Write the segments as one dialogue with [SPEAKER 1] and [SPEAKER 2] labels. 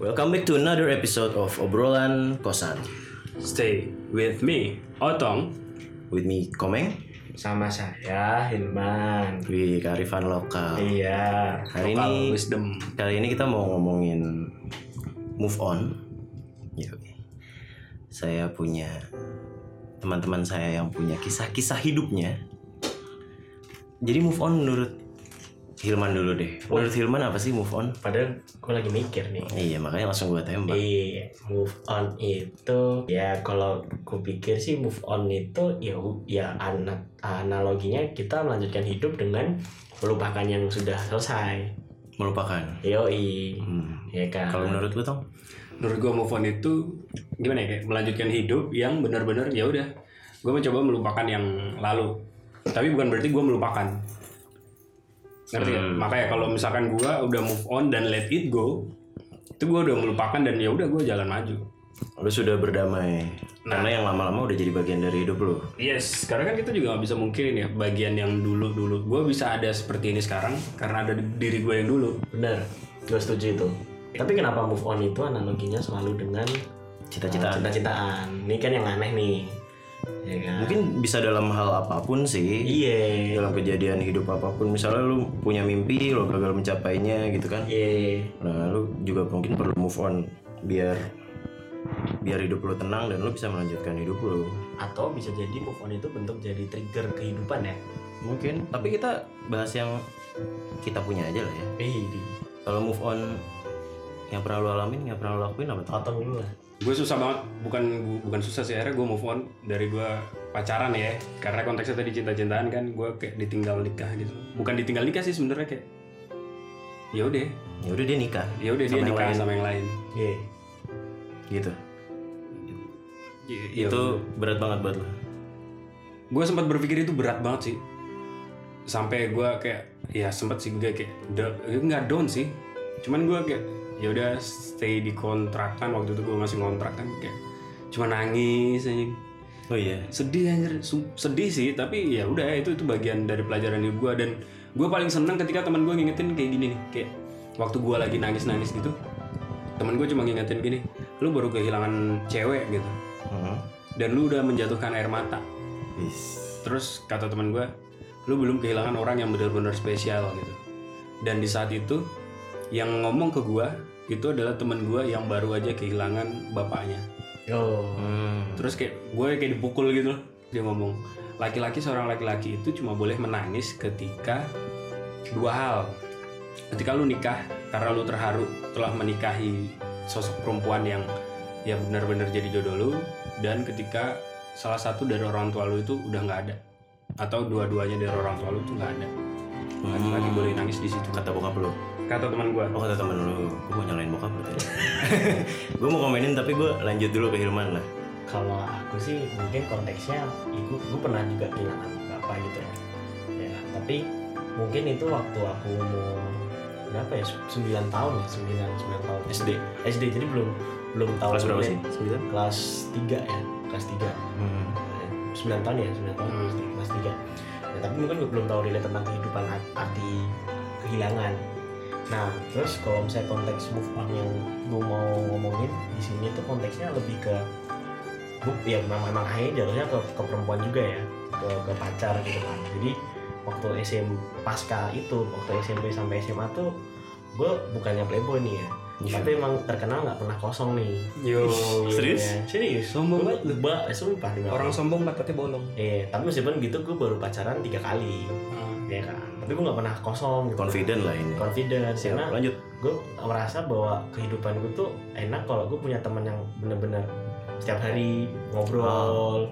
[SPEAKER 1] Welcome back to another episode of Obrolan Kosan
[SPEAKER 2] Stay with me, Otong.
[SPEAKER 1] with me Komeng,
[SPEAKER 3] sama saya Hilman
[SPEAKER 1] di Karifan Lokal.
[SPEAKER 3] iya
[SPEAKER 1] Hari
[SPEAKER 2] Local
[SPEAKER 1] ini
[SPEAKER 2] wisdom.
[SPEAKER 1] kali ini kita mau ngomongin move on. Ya. Saya punya teman-teman saya yang punya kisah-kisah hidupnya. Jadi move on menurut Hilman dulu deh. Menurut Hilman apa sih move on?
[SPEAKER 3] padahal gue lagi mikir nih
[SPEAKER 1] Iya makanya langsung gua tembak.
[SPEAKER 3] Iya, move on itu ya kalau gue pikir sih move on itu ya u- ya anak analoginya kita melanjutkan hidup dengan melupakan yang sudah selesai.
[SPEAKER 1] Melupakan.
[SPEAKER 3] Yoi,
[SPEAKER 1] Hmm.
[SPEAKER 3] ya kan.
[SPEAKER 1] Kalau menurut lu Tong?
[SPEAKER 2] Menurut gue move on itu gimana ya? kayak Melanjutkan hidup yang benar-benar ya udah. Gue mencoba melupakan yang lalu. Tapi bukan berarti gue melupakan. Ngerti ya? Makanya kalau misalkan gue udah move on dan let it go, itu gue udah melupakan dan ya udah gue jalan maju.
[SPEAKER 1] Lu sudah berdamai. Karena yang lama-lama udah jadi bagian dari hidup lu.
[SPEAKER 2] Yes, karena kan kita juga nggak bisa mungkirin ya bagian yang dulu-dulu. Gue bisa ada seperti ini sekarang karena ada di diri gue yang dulu.
[SPEAKER 3] Bener, gue setuju itu. Tapi kenapa move on itu analoginya selalu dengan uh,
[SPEAKER 1] Cita-cita
[SPEAKER 3] cita-citaan? Ini kan yang aneh nih. Ya kan?
[SPEAKER 1] mungkin bisa dalam hal apapun sih
[SPEAKER 3] Iya.
[SPEAKER 1] dalam kejadian hidup apapun misalnya lu punya mimpi lo gagal mencapainya gitu kan
[SPEAKER 3] Iya.
[SPEAKER 1] nah lu juga mungkin perlu move on biar biar hidup lu tenang dan lu bisa melanjutkan hidup lu
[SPEAKER 3] atau bisa jadi move on itu bentuk jadi trigger kehidupan ya
[SPEAKER 1] mungkin tapi kita bahas yang kita punya aja lah ya
[SPEAKER 3] eh
[SPEAKER 1] kalau move on yang pernah lu alamin yang pernah lu lakuin apa tuh
[SPEAKER 3] potong dulu lah
[SPEAKER 2] gue susah banget bukan bu- bukan susah sih akhirnya gue move on dari gue pacaran ya karena konteksnya tadi cinta-cintaan kan gue kayak ditinggal nikah gitu bukan ditinggal nikah sih sebenarnya kayak ya udah
[SPEAKER 1] ya udah dia nikah
[SPEAKER 2] ya udah dia
[SPEAKER 1] Sama yang
[SPEAKER 2] nikah
[SPEAKER 1] lain.
[SPEAKER 2] sama yang lain
[SPEAKER 3] iya
[SPEAKER 1] gitu
[SPEAKER 2] Y- ya
[SPEAKER 1] Iya, itu berat banget buat lu
[SPEAKER 2] gue sempat berpikir itu berat banget sih sampai gue kayak ya sempat sih gue kayak do- eh, nggak down sih cuman gue kayak ya udah stay di kontrakan waktu itu gue masih ngontrak kan kayak cuma nangis aja
[SPEAKER 1] oh iya
[SPEAKER 2] sedih anjir Sum- sedih sih tapi ya udah itu itu bagian dari pelajaran hidup gue dan gue paling seneng ketika teman gue ngingetin kayak gini nih kayak waktu gue lagi nangis nangis gitu teman gue cuma ngingetin gini lu baru kehilangan cewek gitu
[SPEAKER 1] Heeh.
[SPEAKER 2] dan lu udah menjatuhkan air mata
[SPEAKER 1] Wis.
[SPEAKER 2] terus kata teman gue lu belum kehilangan orang yang benar-benar spesial gitu dan di saat itu yang ngomong ke gue itu adalah teman gue yang baru aja kehilangan bapaknya
[SPEAKER 3] oh
[SPEAKER 1] Hmm.
[SPEAKER 2] Terus kayak gue kayak dipukul gitu loh. Dia ngomong, laki-laki seorang laki-laki itu cuma boleh menangis ketika dua hal. Ketika lu nikah karena lu terharu telah menikahi sosok perempuan yang ya benar-benar jadi jodoh lu dan ketika salah satu dari orang tua lu itu udah nggak ada atau dua-duanya dari orang tua lu tuh nggak ada laki-laki
[SPEAKER 1] Hmm.
[SPEAKER 2] boleh nangis di situ
[SPEAKER 1] kata bokap lu
[SPEAKER 2] kata teman gue
[SPEAKER 1] Oh kata temen lu, gue mau nyalain bokap lu tadi Gue mau komenin tapi gue lanjut dulu ke Hilman lah
[SPEAKER 3] kalau aku sih mungkin konteksnya ibu gue pernah juga kehilangan bapak gitu ya ya tapi mungkin itu waktu aku umur berapa ya 9 tahun ya 9 9 tahun
[SPEAKER 1] SD
[SPEAKER 3] SD jadi belum belum tahu
[SPEAKER 1] Kelas berapa sih? Hmm.
[SPEAKER 3] 9 kelas 3 ya kelas 3 9 tahun ya 9 tahun
[SPEAKER 2] Hmm.
[SPEAKER 3] kelas 3 nah, tapi mungkin gue belum tahu relate tentang kehidupan art- arti kehilangan nah terus kalau misalnya konteks move on yang gue mau ngomongin di sini tuh konteksnya lebih ke bu ya memang memang akhirnya jatuhnya ke, ke perempuan juga ya ke, ke pacar gitu kan jadi waktu SM pasca itu waktu SMP sampai SMA tuh gue bukannya playboy nih ya tapi emang terkenal nggak pernah kosong nih
[SPEAKER 2] yo
[SPEAKER 1] Iya. serius?
[SPEAKER 3] Iya, serius
[SPEAKER 2] Sombong banget lu.
[SPEAKER 3] Ba- sumpah nih
[SPEAKER 2] orang sombong pantatnya bolong
[SPEAKER 3] Iya, tapi meskipun gitu gue baru pacaran tiga kali,
[SPEAKER 2] Hmm.
[SPEAKER 3] ya kan. Tapi gue nggak pernah kosong gitu.
[SPEAKER 1] Confident lah ini
[SPEAKER 3] Confident,
[SPEAKER 1] Siap,
[SPEAKER 3] karena
[SPEAKER 1] lanjut
[SPEAKER 3] gue merasa bahwa kehidupan gue tuh enak kalau gue punya teman yang bener-bener setiap hari ngobrol,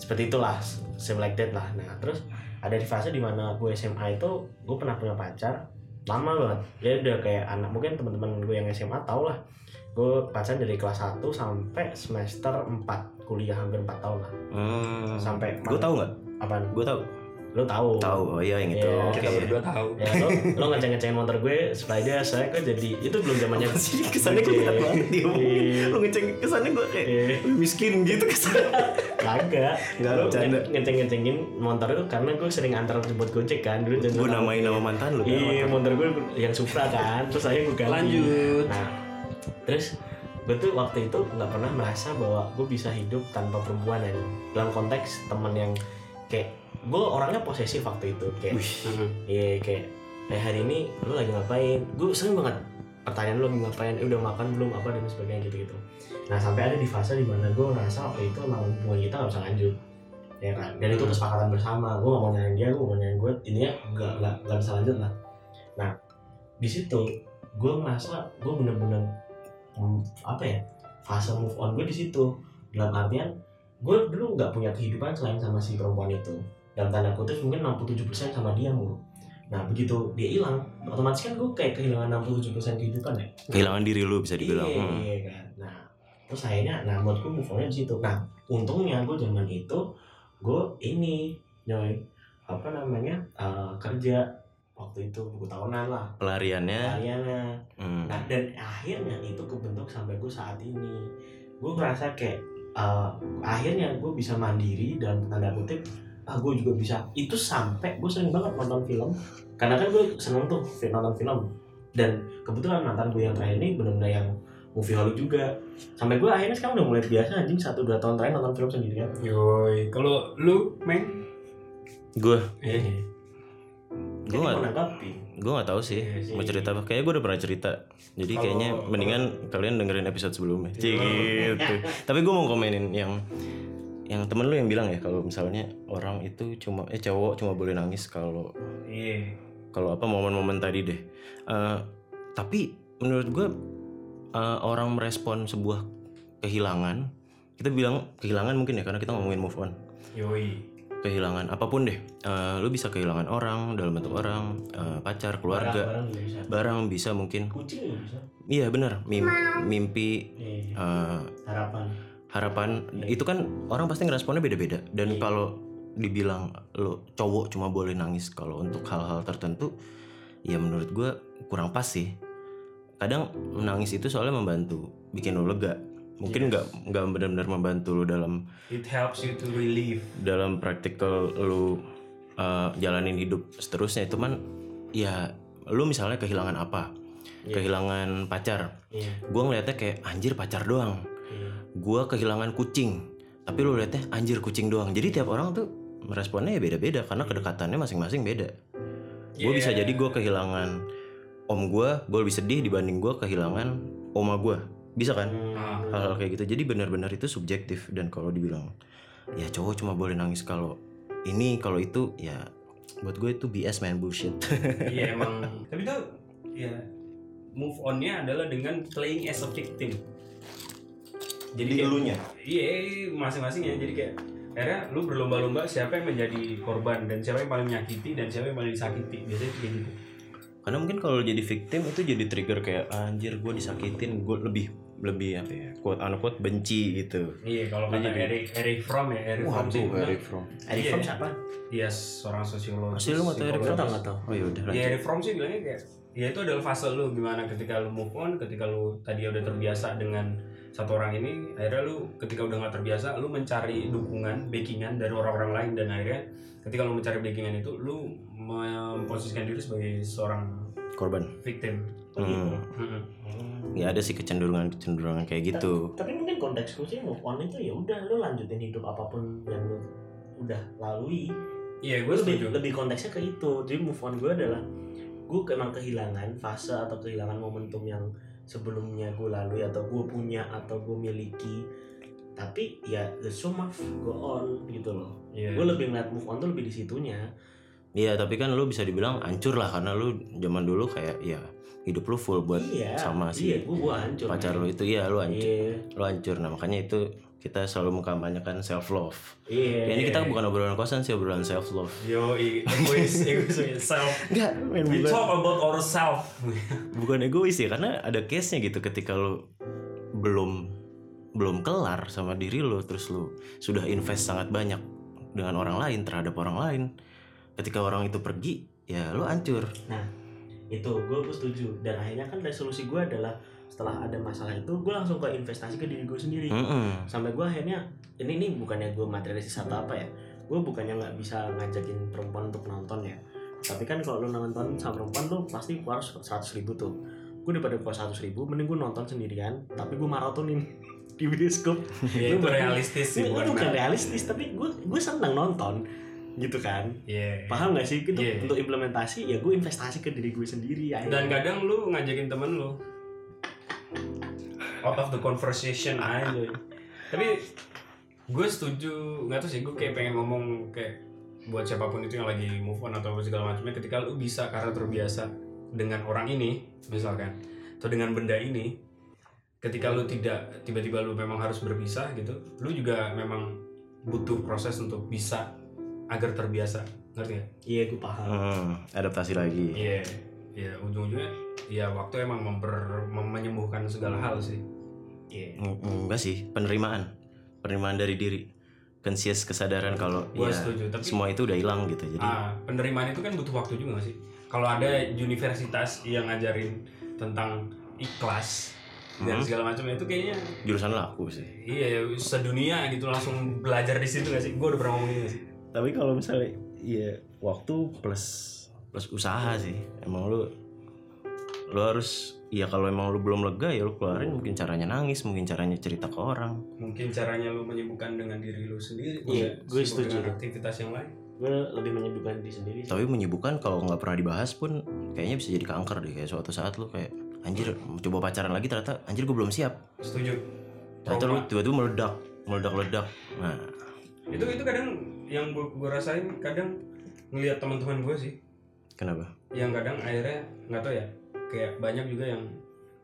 [SPEAKER 3] seperti itulah, same like that lah. Nah, terus ada di fase dimana gue SMA itu gue pernah punya pacar lama banget. Ya udah kayak anak mungkin teman-teman gue yang SMA tau lah. Gue pacaran dari kelas 1 sampai semester 4 kuliah hampir 4 tahun lah.
[SPEAKER 1] hmm.
[SPEAKER 3] Sampai
[SPEAKER 1] Gue tau gak?
[SPEAKER 3] apaan?
[SPEAKER 1] Gue tau
[SPEAKER 3] lo tahu
[SPEAKER 1] Tahu, oh iya yang itu.
[SPEAKER 3] Iya,
[SPEAKER 1] Oke.
[SPEAKER 2] Kita berdua tahu.
[SPEAKER 3] ya lo lo ngeceng ngecengin motor gue setelah dia saya gue jadi itu belum zamannya
[SPEAKER 1] Apa sih kesannya gue berat banget diomongin. Lu ngeceng kesannya gue kayak
[SPEAKER 3] Iya.
[SPEAKER 1] "Wih, miskin gitu kesannya.
[SPEAKER 3] kagak
[SPEAKER 1] Nggak,
[SPEAKER 3] Lo
[SPEAKER 1] bercanda.
[SPEAKER 3] ngeceng ngecengin motor itu karena gue sering antar jemput gojek kan dulu jemput
[SPEAKER 1] gue namain nama mantan lu kan.
[SPEAKER 3] Iya, motor gue yang Supra kan, terus akhirnya gue ganti.
[SPEAKER 2] Lanjut.
[SPEAKER 3] Nah, terus gue tuh waktu itu nggak pernah merasa bahwa gue bisa hidup tanpa perempuan ya. Dalam konteks temen yang kayak gue orangnya posesif waktu itu kayak,
[SPEAKER 1] Wih.
[SPEAKER 2] Mhm.
[SPEAKER 3] iya kayak, eh hari ini lu lagi ngapain? Gue sering banget pertanyaan lu lagi ngapain, eh, udah makan belum apa dan sebagainya gitu gitu. Nah sampai ada di fase dimana gue ngerasa waktu itu emang hubungan kita nggak bisa lanjut ya kan dan itu kesepakatan bersama gue gak mau nyalahin dia gue gak mau nyalahin gue intinya gak, gak, gak bisa lanjut lah nah di situ gue merasa gue bener-bener hmm, apa ya fase move on gue di situ dalam artian gue dulu nggak punya kehidupan selain sama si perempuan itu dalam tanda kutip mungkin 67% sama dia mulu nah begitu dia hilang otomatis kan gue kayak kehilangan 67% kehidupan ya
[SPEAKER 1] Kehilangan diri lu bisa dibilang.
[SPEAKER 3] Iya,
[SPEAKER 1] Hmm.
[SPEAKER 3] iya kan. Nah, terus akhirnya, nah menurutku move on-nya di situ. Nah, untungnya gue zaman itu, gue ini, nyoy, apa namanya, eh, kerja waktu itu buku tahunan lah,
[SPEAKER 1] Pelariannya.
[SPEAKER 3] hariannya.
[SPEAKER 1] hmm.
[SPEAKER 3] Nah, dan akhirnya itu kebentuk sampai gue saat ini. Gue ngerasa kayak eh, akhirnya gue bisa mandiri dan tanda kutip ah gue juga bisa itu sampai gue sering banget nonton film karena kan gue seneng tuh fi- nonton film dan kebetulan mantan gue yang terakhir ini bener-bener yang movie Hollywood juga sampai gue akhirnya sekarang udah mulai biasa anjing satu dua tahun terakhir nonton film kan? sendirian
[SPEAKER 2] Yoi, kalau lu, Meng?
[SPEAKER 1] Gue,
[SPEAKER 2] Iya.
[SPEAKER 1] gue
[SPEAKER 3] jadi
[SPEAKER 1] gak,
[SPEAKER 3] menanggapi
[SPEAKER 1] gue gak tahu sih
[SPEAKER 2] Iya sih.
[SPEAKER 1] mau cerita apa. Kayaknya gue udah pernah cerita. Jadi
[SPEAKER 2] Kalau- Iya.
[SPEAKER 1] kayaknya mendingan kalian dengerin episode sebelumnya. Cie, gitu. Tapi gue mau komenin yang yang temen lu yang bilang ya kalau misalnya orang itu cuma eh cowok cuma boleh nangis kalau
[SPEAKER 2] Iya.
[SPEAKER 1] kalau apa momen-momen tadi deh. Eh, tapi menurut gue eh, orang merespon sebuah kehilangan, kita bilang kehilangan mungkin ya karena kita ngomongin move on.
[SPEAKER 2] Yoi.
[SPEAKER 1] Kehilangan apapun deh, Eh, lu bisa kehilangan orang dalam bentuk orang, eh, pacar, keluarga,
[SPEAKER 3] barang juga bisa
[SPEAKER 1] barang bisa mungkin.
[SPEAKER 3] kucing juga bisa
[SPEAKER 1] Iya benar, mim- mimpi,
[SPEAKER 3] Iya,
[SPEAKER 2] Ah.
[SPEAKER 1] eh,
[SPEAKER 3] harapan
[SPEAKER 1] harapan itu kan orang pasti ngeresponnya beda-beda. Dan
[SPEAKER 3] Iya.
[SPEAKER 1] kalau dibilang lo cowok cuma boleh nangis kalau untuk hal-hal tertentu, ya menurut gue kurang pas sih. Kadang menangis itu soalnya membantu, bikin lo lega.
[SPEAKER 3] Iya.
[SPEAKER 1] Mungkin nggak nggak benar-benar membantu lo dalam
[SPEAKER 2] It helps you to relieve.
[SPEAKER 1] dalam praktikal lo uh, jalanin hidup seterusnya. Itu kan ya lo misalnya kehilangan apa?
[SPEAKER 3] Iya.
[SPEAKER 1] Kehilangan pacar.
[SPEAKER 3] iya
[SPEAKER 1] Gue ngeliatnya kayak anjir pacar doang
[SPEAKER 3] iya
[SPEAKER 1] gua kehilangan kucing tapi lu liatnya anjir kucing doang jadi tiap orang tuh meresponnya ya beda-beda karena kedekatannya masing-masing beda gue bisa
[SPEAKER 2] Yeah.
[SPEAKER 1] jadi gua kehilangan om gua gue lebih sedih dibanding gua kehilangan oma gua bisa kan
[SPEAKER 2] Ah,
[SPEAKER 3] Hmm.
[SPEAKER 1] hal-hal kayak gitu jadi benar-benar itu subjektif dan kalau dibilang ya cowok cuma boleh nangis kalau ini kalau itu ya buat gue itu BS man bullshit
[SPEAKER 2] Iya emang. Tapi itu ya move onnya adalah dengan playing as a victim. Jadi kayak-
[SPEAKER 1] elunya
[SPEAKER 2] Iya masing-masing ya. Jadi kayak akhirnya lu berlomba-lomba siapa yang menjadi korban dan siapa yang paling menyakiti dan siapa yang paling disakiti biasanya kayak gitu.
[SPEAKER 1] karena mungkin kalau jadi victim itu jadi trigger kayak anjir gue disakitin gue lebih lebih apa ya quote unquote benci gitu
[SPEAKER 2] Iya kalau kata
[SPEAKER 1] Jadi-
[SPEAKER 2] Eric Eric Fromm ya Eric Fromm sih bilang,
[SPEAKER 1] Fromm.
[SPEAKER 3] Arif
[SPEAKER 2] Iya.
[SPEAKER 3] Fromm siapa?
[SPEAKER 2] Iya seorang sosiologis.
[SPEAKER 1] Asli lu nggak tahu Eric
[SPEAKER 3] Gue
[SPEAKER 1] Fromm?
[SPEAKER 3] tau
[SPEAKER 2] psikologis.
[SPEAKER 3] gak tau
[SPEAKER 1] Oh yaudah
[SPEAKER 2] Ya
[SPEAKER 1] lanjut.
[SPEAKER 2] Eric Fromm sih bilangnya kayak ya itu adalah fase lu gimana ketika lu move on, ketika lu tadi udah terbiasa dengan satu orang ini, akhirnya lu ketika udah nggak terbiasa, lu mencari dukungan, backingan dari orang-orang lain dan akhirnya ketika lu mencari backingan itu, lu memposisikan diri sebagai seorang
[SPEAKER 1] Korban.
[SPEAKER 2] victim.
[SPEAKER 1] Hmm.
[SPEAKER 2] Mm-mm.
[SPEAKER 1] Ya ada sih kecenderungan-kecenderungan kayak gitu.
[SPEAKER 3] Hmm. tapi mungkin konteksku sih move on itu ya udah lu lanjutin hidup apapun yang lu udah lalui
[SPEAKER 2] Iya, gue
[SPEAKER 3] gue
[SPEAKER 2] setuju.
[SPEAKER 3] lebih lebih konteksnya ke itu jadi move on gue adalah gue emang kehilangan fase atau kehilangan momentum yang sebelumnya gue lalui atau gue punya atau gue miliki tapi ya the so much go on gitu loh
[SPEAKER 2] Iya.
[SPEAKER 3] gue lebih ngeliat move on tuh lebih disitunya
[SPEAKER 1] Iya tapi kan lu bisa dibilang hancur lah karena lu zaman dulu kayak ya hidup lu full buat
[SPEAKER 3] iya
[SPEAKER 1] sama si
[SPEAKER 3] iya gue gue hancur
[SPEAKER 1] pacar lu itu ya lu hancur,
[SPEAKER 3] iya
[SPEAKER 1] lu hancur. Nah makanya itu kita selalu mengkampanyekan self love.
[SPEAKER 3] iya
[SPEAKER 1] Ya, ini
[SPEAKER 2] Iya.
[SPEAKER 1] kita bukan obrolan kosan sih obrolan self love.
[SPEAKER 2] Yo, egois, egois yourself.
[SPEAKER 1] Enggak, men,
[SPEAKER 2] We
[SPEAKER 1] bukan,
[SPEAKER 2] talk about ourselves.
[SPEAKER 1] bukan egois ya karena ada case-nya gitu ketika lu belum belum kelar sama diri lu terus lu sudah invest sangat banyak dengan orang lain terhadap orang lain ketika orang itu pergi ya lu hancur
[SPEAKER 3] itu gue gue setuju dan akhirnya kan resolusi gue adalah setelah ada masalah itu gue langsung ke investasi ke diri gue sendiri
[SPEAKER 2] Hmm.
[SPEAKER 1] Mm-mm.
[SPEAKER 3] sampai gue akhirnya ini ini bukannya gue materialistis atau apa ya gue bukannya nggak bisa ngajakin perempuan untuk nonton ya tapi kan kalau lu nonton sama perempuan lu pasti keluar seratus ribu tuh gue daripada keluar seratus ribu mending gue nonton sendirian tapi gue maratonin di bioskop
[SPEAKER 2] Ya, itu realistis sih
[SPEAKER 3] ini
[SPEAKER 2] bukan?
[SPEAKER 3] bukan realistis tapi gue gue seneng nonton gitu kan
[SPEAKER 2] Iya.
[SPEAKER 3] paham gak sih gitu
[SPEAKER 2] Iya.
[SPEAKER 3] untuk implementasi ya gue investasi ke diri gue sendiri akhirnya.
[SPEAKER 2] Dan kan kadang lu ngajakin temen lu out of the conversation aja. Tapi gue setuju, nggak tahu sih gue kayak pengen ngomong kayak buat siapapun itu yang lagi move on atau segala macamnya ketika lu bisa karena terbiasa dengan orang ini misalkan atau dengan benda ini ketika lu tidak tiba-tiba lu memang harus berpisah gitu lu juga memang butuh proses untuk bisa agar terbiasa ngerti nggak?
[SPEAKER 3] Iya gue paham.
[SPEAKER 1] Mm, adaptasi lagi
[SPEAKER 2] Iya, ya ujung-ujungnya ya waktu emang memper mem- menyembuhkan segala hal sih.
[SPEAKER 3] Iya.
[SPEAKER 1] Mm, enggak sih penerimaan penerimaan dari diri conscious kesadaran kalau
[SPEAKER 2] Gua
[SPEAKER 1] ya
[SPEAKER 2] setuju, tapi
[SPEAKER 1] semua itu udah hilang gitu jadi
[SPEAKER 2] ah, penerimaan itu kan butuh waktu juga nggak sih. Kalau ada universitas yang ngajarin tentang ikhlas dan
[SPEAKER 1] Hmm.
[SPEAKER 2] segala macam itu kayaknya
[SPEAKER 1] jurusan laku sih
[SPEAKER 2] iya sedunia gitu langsung belajar di situ nggak sih? Gue udah pernah ngomong ini nggak sih.
[SPEAKER 1] tapi kalau misalnya ya waktu plus plus usaha sih emang lu lu harus ya kalau emang lu belum lega ya lu keluarin mungkin caranya nangis mungkin caranya cerita ke orang
[SPEAKER 2] Mungkin caranya lu menyembuhkan dengan diri lu sendiri.
[SPEAKER 3] Iya,
[SPEAKER 2] nggak?
[SPEAKER 3] gue
[SPEAKER 2] Sibuk
[SPEAKER 3] setuju.
[SPEAKER 2] Dengan aktivitas yang lain.
[SPEAKER 3] Gue lebih menyembuhkan diri sendiri. sih.
[SPEAKER 1] tapi menyibukkan kalau nggak pernah dibahas pun kayaknya bisa jadi kanker deh kayak suatu saat lu kayak anjir coba pacaran lagi ternyata anjir gue belum siap
[SPEAKER 2] Setuju.
[SPEAKER 1] ternyata
[SPEAKER 2] Oh,
[SPEAKER 1] lu
[SPEAKER 2] iya.
[SPEAKER 1] tiba-tiba meledak meledak ledak nah
[SPEAKER 2] Itu itu kadang yang gue gue rasain kadang ngelihat teman-teman gue sih
[SPEAKER 1] kenapa
[SPEAKER 2] yang kadang akhirnya nggak tau ya kayak banyak juga yang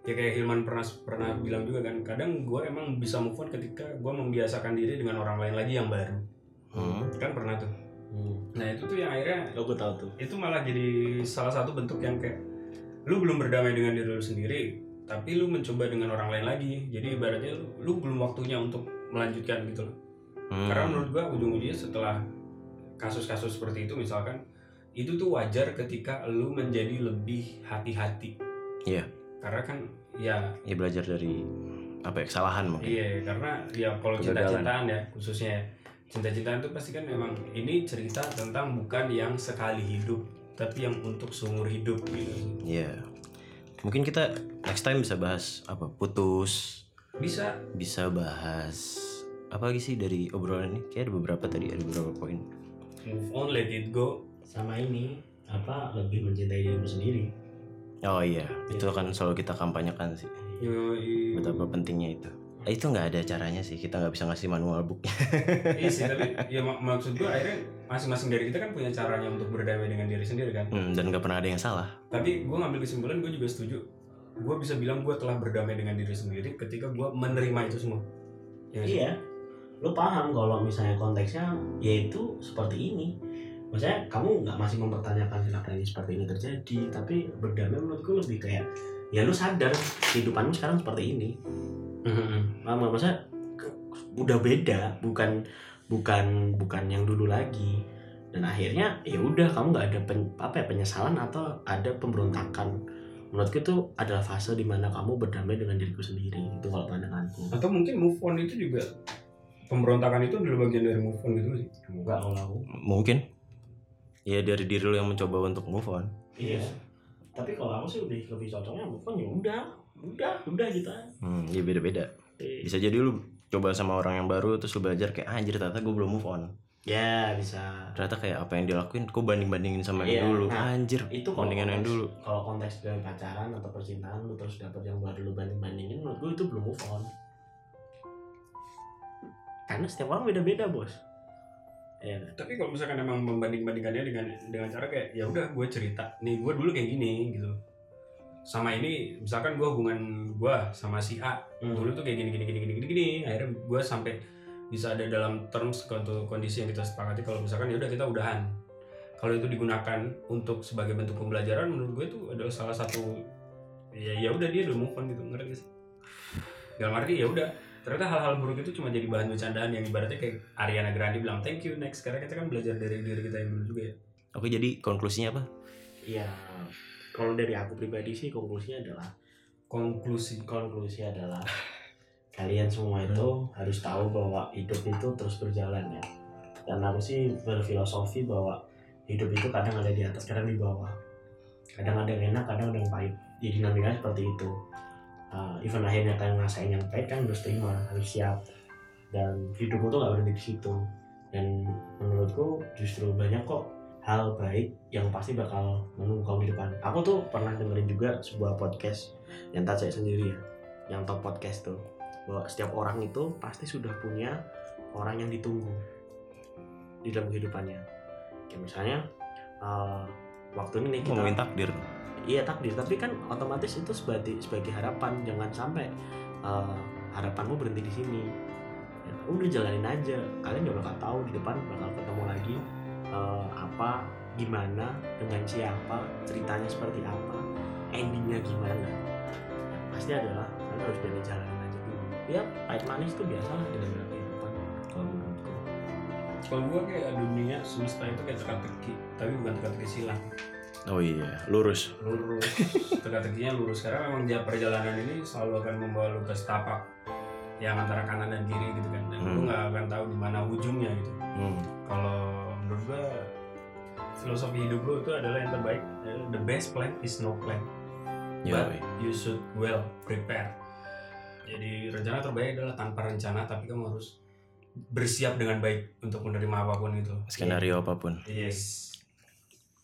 [SPEAKER 2] ya kayak Hilman pernah pernah bilang juga kan kadang gue emang bisa move on ketika gue membiasakan diri dengan orang lain lagi yang baru
[SPEAKER 1] Hmm.
[SPEAKER 2] kan pernah tuh
[SPEAKER 3] Hmm.
[SPEAKER 2] nah itu tuh yang akhirnya
[SPEAKER 3] Oh gue tahu tuh.
[SPEAKER 2] itu malah jadi salah satu bentuk yang kayak lu belum berdamai dengan diri lu sendiri tapi lu mencoba dengan orang lain lagi jadi ibaratnya lu, lu belum waktunya untuk melanjutkan gitu loh
[SPEAKER 1] Hmm.
[SPEAKER 2] karena menurut gua ujung-ujungnya setelah kasus-kasus seperti itu misalkan itu tuh wajar ketika lu menjadi lebih hati-hati.
[SPEAKER 1] Iya.
[SPEAKER 2] Karena kan ya
[SPEAKER 1] ya belajar dari apa ya kesalahan mungkin
[SPEAKER 2] iya karena ya kalau
[SPEAKER 1] Kegagalan.
[SPEAKER 2] cinta-cintaan ya khususnya ya, cinta-cintaan itu pasti kan memang ini cerita tentang bukan yang sekali hidup tapi yang untuk seumur hidup gitu.
[SPEAKER 1] Iya. Mungkin kita next time bisa bahas apa putus,
[SPEAKER 2] Bisa
[SPEAKER 1] bisa bahas apa lagi sih dari obrolan ini? Kayak ada beberapa tadi, ada beberapa poin.
[SPEAKER 2] move on let it go.
[SPEAKER 3] Sama ini apa lebih mencintai diri lu sendiri.
[SPEAKER 1] Oh iya, itu akan selalu kita kampanyekan sih.
[SPEAKER 2] Iya. Yoi.
[SPEAKER 1] Betapa pentingnya itu. Eh, Itu nggak ada caranya sih, kita nggak bisa ngasih manual booknya.
[SPEAKER 2] Iya sih tapi ya mak- maksud gua akhirnya masing-masing dari kita kan punya caranya untuk berdamai dengan diri sendiri kan.
[SPEAKER 1] Hmm, dan nggak pernah ada yang salah.
[SPEAKER 2] tapi gue ngambil kesimpulan gue juga setuju gue bisa bilang gue telah berdamai dengan diri sendiri ketika gue menerima itu semua Ya nggak sih?
[SPEAKER 3] Iya. Lu paham kalau misalnya konteksnya yaitu seperti ini. Maksudnya kamu nggak masih mempertanyakan kenapa ini seperti ini terjadi, tapi berdamai menurut gue lebih kayak ya lu sadar kehidupanmu sekarang seperti ini.
[SPEAKER 2] Mm-hmm.
[SPEAKER 3] Paham nggak? Maksudnya ke- udah beda, bukan bukan bukan yang dulu lagi. Dan akhirnya ya udah kamu nggak ada pen- apa ya, penyesalan atau ada pemberontakan. Menurutku itu adalah fase dimana kamu berdamai dengan diriku sendiri. Itu kalau pandanganku.
[SPEAKER 2] atau mungkin move on itu juga pemberontakan itu adalah bagian dari move on gitu sih
[SPEAKER 3] Enggak kalau aku.
[SPEAKER 1] Mungkin. Ya dari diri lo yang mencoba untuk move on.
[SPEAKER 3] Iya. Tapi kalau aku sih lebih lebih cocoknya bukan ya udah, udah, udah gitu. aja.
[SPEAKER 1] Hmm, ya beda-beda.
[SPEAKER 3] Eh,
[SPEAKER 1] Bisa jadi lu coba sama orang yang baru terus lu belajar kayak "Ah, anjir ternyata gue belum move on.
[SPEAKER 3] Ya bisa.
[SPEAKER 1] ternyata kayak apa yang dilakuin kok banding bandingin sama
[SPEAKER 3] Iya,
[SPEAKER 1] yang dulu
[SPEAKER 3] nah,
[SPEAKER 1] anjir
[SPEAKER 3] Itu kalau
[SPEAKER 1] bandingan yang
[SPEAKER 3] konteks-
[SPEAKER 1] dulu
[SPEAKER 3] Kalau konteks dalam pacaran atau percintaan lu terus dapet yang baru lu banding bandingin, menurut gue itu belum move on. Karena setiap orang beda-beda bos. Iya kan?
[SPEAKER 2] tapi kalau misalkan emang membanding bandingkannya dengan dengan cara kayak ya udah gue cerita nih gue dulu kayak gini gitu sama ini misalkan gue hubungan gue sama si A dulu tuh kayak gini gini gini gini gini gini akhirnya gue sampai bisa ada dalam terms untuk kondisi yang kita sepakati kalau misalkan ya udah kita udahan kalau itu digunakan untuk sebagai bentuk pembelajaran menurut gue itu adalah salah satu ya ya udah dia udah move on gitu ngerti nggak sih dalam arti ya udah ternyata hal-hal buruk itu cuma jadi bahan bercandaan yang ibaratnya kayak Ariana Grande bilang thank you next karena kita kan belajar dari diri kita yang dulu juga ya
[SPEAKER 1] Oke, jadi konklusinya apa?
[SPEAKER 3] Iya. Kalau dari aku pribadi sih konklusinya adalah
[SPEAKER 2] konklusi
[SPEAKER 3] konklusi adalah kalian semua itu harus tahu bahwa hidup itu terus berjalan ya. Dan aku sih berfilosofi bahwa hidup itu kadang ada di atas, kadang di bawah. Kadang ada yang enak, kadang ada yang pahit. Ya dinamikanya seperti itu. Uh, even akhirnya kalian ngerasain yang pahit kan harus terima, harus siap. Dan hidupmu tuh nggak berhenti di situ. Dan menurutku justru banyak kok hal baik yang pasti bakal menunggu kamu di depan. Aku tuh pernah dengerin juga sebuah podcast yang tak saya sendiri ya, yang top podcast tuh bahwa setiap orang itu pasti sudah punya orang yang ditunggu di dalam kehidupannya. Kayak misalnya eh, waktu ini nih kita
[SPEAKER 1] Ngomongin takdir.
[SPEAKER 3] iya takdir tapi kan otomatis itu sebagai sebagai harapan jangan sampai eh, harapanmu berhenti di sini Ya, udah jalanin aja kalian gak bakal tahu di depan bakal ketemu lagi eh, apa gimana dengan siapa ceritanya seperti apa endingnya gimana Yang pasti adalah kalian harus jadi jalanin aja dulu ya pahit manis itu biasalah di dalam kehidupan kalau menurutku
[SPEAKER 2] kalau gua kayak dunia semesta itu kayak teka-teki tapi bukan teka-teki silang
[SPEAKER 1] Oh iya, lurus.
[SPEAKER 2] lurus teka-tekinya lurus karena memang jalan perjalanan ini selalu akan membawa lu ke setapak yang antara kanan dan kiri gitu kan dan lu
[SPEAKER 1] Hmm.
[SPEAKER 2] nggak akan tahu di mana ujungnya gitu
[SPEAKER 1] Hmm.
[SPEAKER 2] kalau menurut gua filosofi hidup lu itu adalah yang terbaik eh, the best plan is no plan
[SPEAKER 1] Ya,
[SPEAKER 2] But- you should well prepare jadi rencana terbaik adalah tanpa rencana tapi kamu harus bersiap dengan baik untuk menerima apapun itu
[SPEAKER 1] skenario apapun.
[SPEAKER 2] yes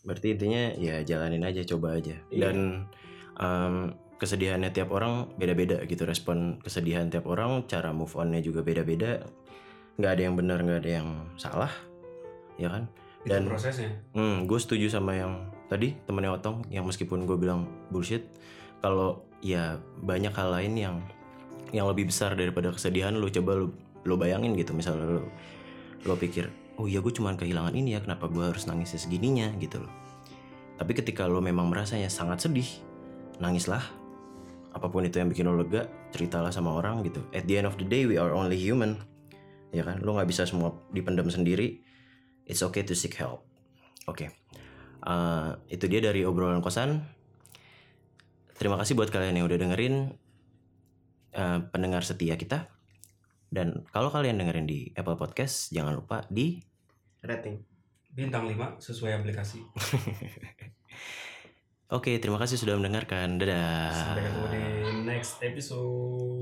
[SPEAKER 1] Berarti intinya ya jalanin aja, coba aja.
[SPEAKER 3] Iya.
[SPEAKER 1] Dan em, kesedihannya tiap orang beda-beda gitu. Respon kesedihan tiap orang, cara move onnya juga beda-beda. Nggak ada yang benar, nggak ada yang salah, ya kan?
[SPEAKER 2] itu
[SPEAKER 1] Dan-
[SPEAKER 2] prosesnya
[SPEAKER 1] Hmm, gue setuju sama yang tadi temennya Otong yang meskipun gue bilang bullshit, kalau ya banyak hal lain yang yang lebih besar daripada kesedihan lu coba lu lu bayangin gitu misalnya lu lu pikir oh iya gue cuman kehilangan ini ya kenapa gue harus nangis segininya gitu loh tapi ketika lu memang merasanya sangat sedih nangislah apapun itu yang bikin lo lega ceritalah sama orang gitu at the end of the day we are only human ya kan lu nggak bisa semua dipendam sendiri it's okay to seek help Oke. Eh, itu dia dari obrolan kosan. Terima kasih buat kalian yang udah dengerin eh, pendengar setia kita. Dan kalau kalian dengerin di Apple Podcast, jangan lupa di
[SPEAKER 3] rating
[SPEAKER 2] bintang 5 sesuai aplikasi
[SPEAKER 1] Oke, terima kasih sudah mendengarkan. Dadah. Ah.
[SPEAKER 2] sampai ketemu di next episode